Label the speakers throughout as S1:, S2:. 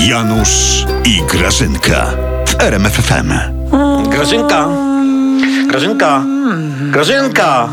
S1: Janusz i Grażynka w RMFFM.
S2: Grażynka! Grażynka! Grażynka!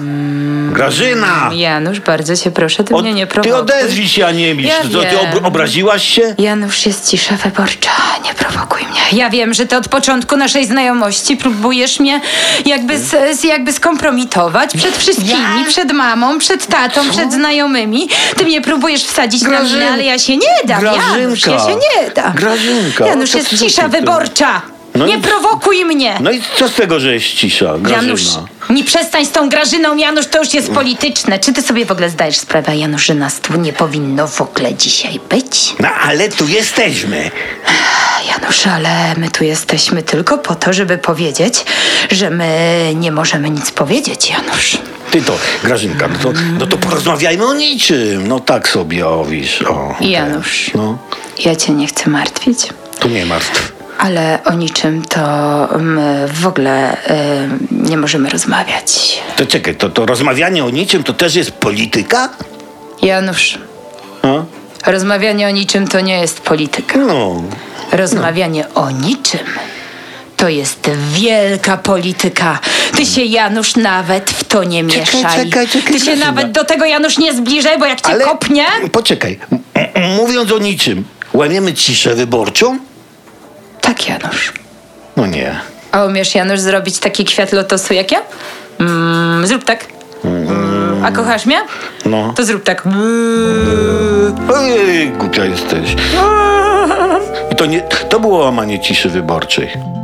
S2: Grażyna!
S3: Janusz, bardzo cię proszę, ty
S2: O,
S3: mnie nie prowokuj.
S2: ty odezwij się, a nie miś.
S3: Ja
S2: Co, ty
S3: wiem.
S2: ob- obraziłaś się?
S3: Janusz jest cisza wyborcza, nie prowokuj mnie. Ja wiem, że ty od początku naszej znajomości próbujesz mnie jakby, s- s- jakby skompromitować przed wszystkimi, przed mamą, przed tatą, przed znajomymi. Ty mnie próbujesz wsadzić na
S2: Grażyn-
S3: mnie, ale ja się nie dam, Janusz,
S2: Grażynka.
S3: ja się nie dam.
S2: Grażynka,
S3: Janusz,
S2: co
S3: jest
S2: ty
S3: cisza
S2: tutaj?
S3: wyborcza,
S2: No
S3: nie
S2: i-
S3: prowokuj mnie.
S2: No i co z tego, że jest cisza, Grażyna?
S3: Janusz, nie przestań z tą Grażyną, Janusz, to już jest polityczne. Czy ty sobie w ogóle zdajesz sprawę, Janusz, że nas tu nie powinno w ogóle dzisiaj być?
S2: No ale tu jesteśmy.
S3: A, No, Janusz, ale my tu jesteśmy tylko po to, żeby powiedzieć, że my nie możemy nic powiedzieć, Janusz.
S2: Ty to, Grażynka, no to, no to porozmawiajmy o niczym. No tak sobie, o wisz. O, okej.
S3: Janusz.
S2: No,
S3: Ja cię nie chcę martwić,
S2: tu nie martw.
S3: ale o niczym to my w ogóle y, nie możemy rozmawiać.
S2: To czekaj, to, to rozmawianie o niczym to też jest polityka?
S3: Janusz,
S2: No,
S3: rozmawianie o niczym to nie jest polityka.
S2: no.
S3: Rozmawianie o niczym to jest wielka polityka. Ty się, Janusz, nawet w to nie
S2: Czekaj,
S3: mieszaj.
S2: czekaj, czekaj,
S3: Ty się
S2: Grażyna.
S3: nawet do tego, Janusz, nie zbliżaj, bo jak cię kopnie...
S2: Poczekaj, m- m- mówiąc o niczym, łamiemy ciszę wyborczą?
S3: Tak, Janusz.
S2: No nie.
S3: A umiesz, Janusz, zrobić taki kwiat lotosu jak ja? Mm, zrób tak. Mm, a kochasz mnie?
S2: No.
S3: To zrób tak.
S2: Ej, głupia jesteś. I to, nie, to było łamanie ciszy wyborczej.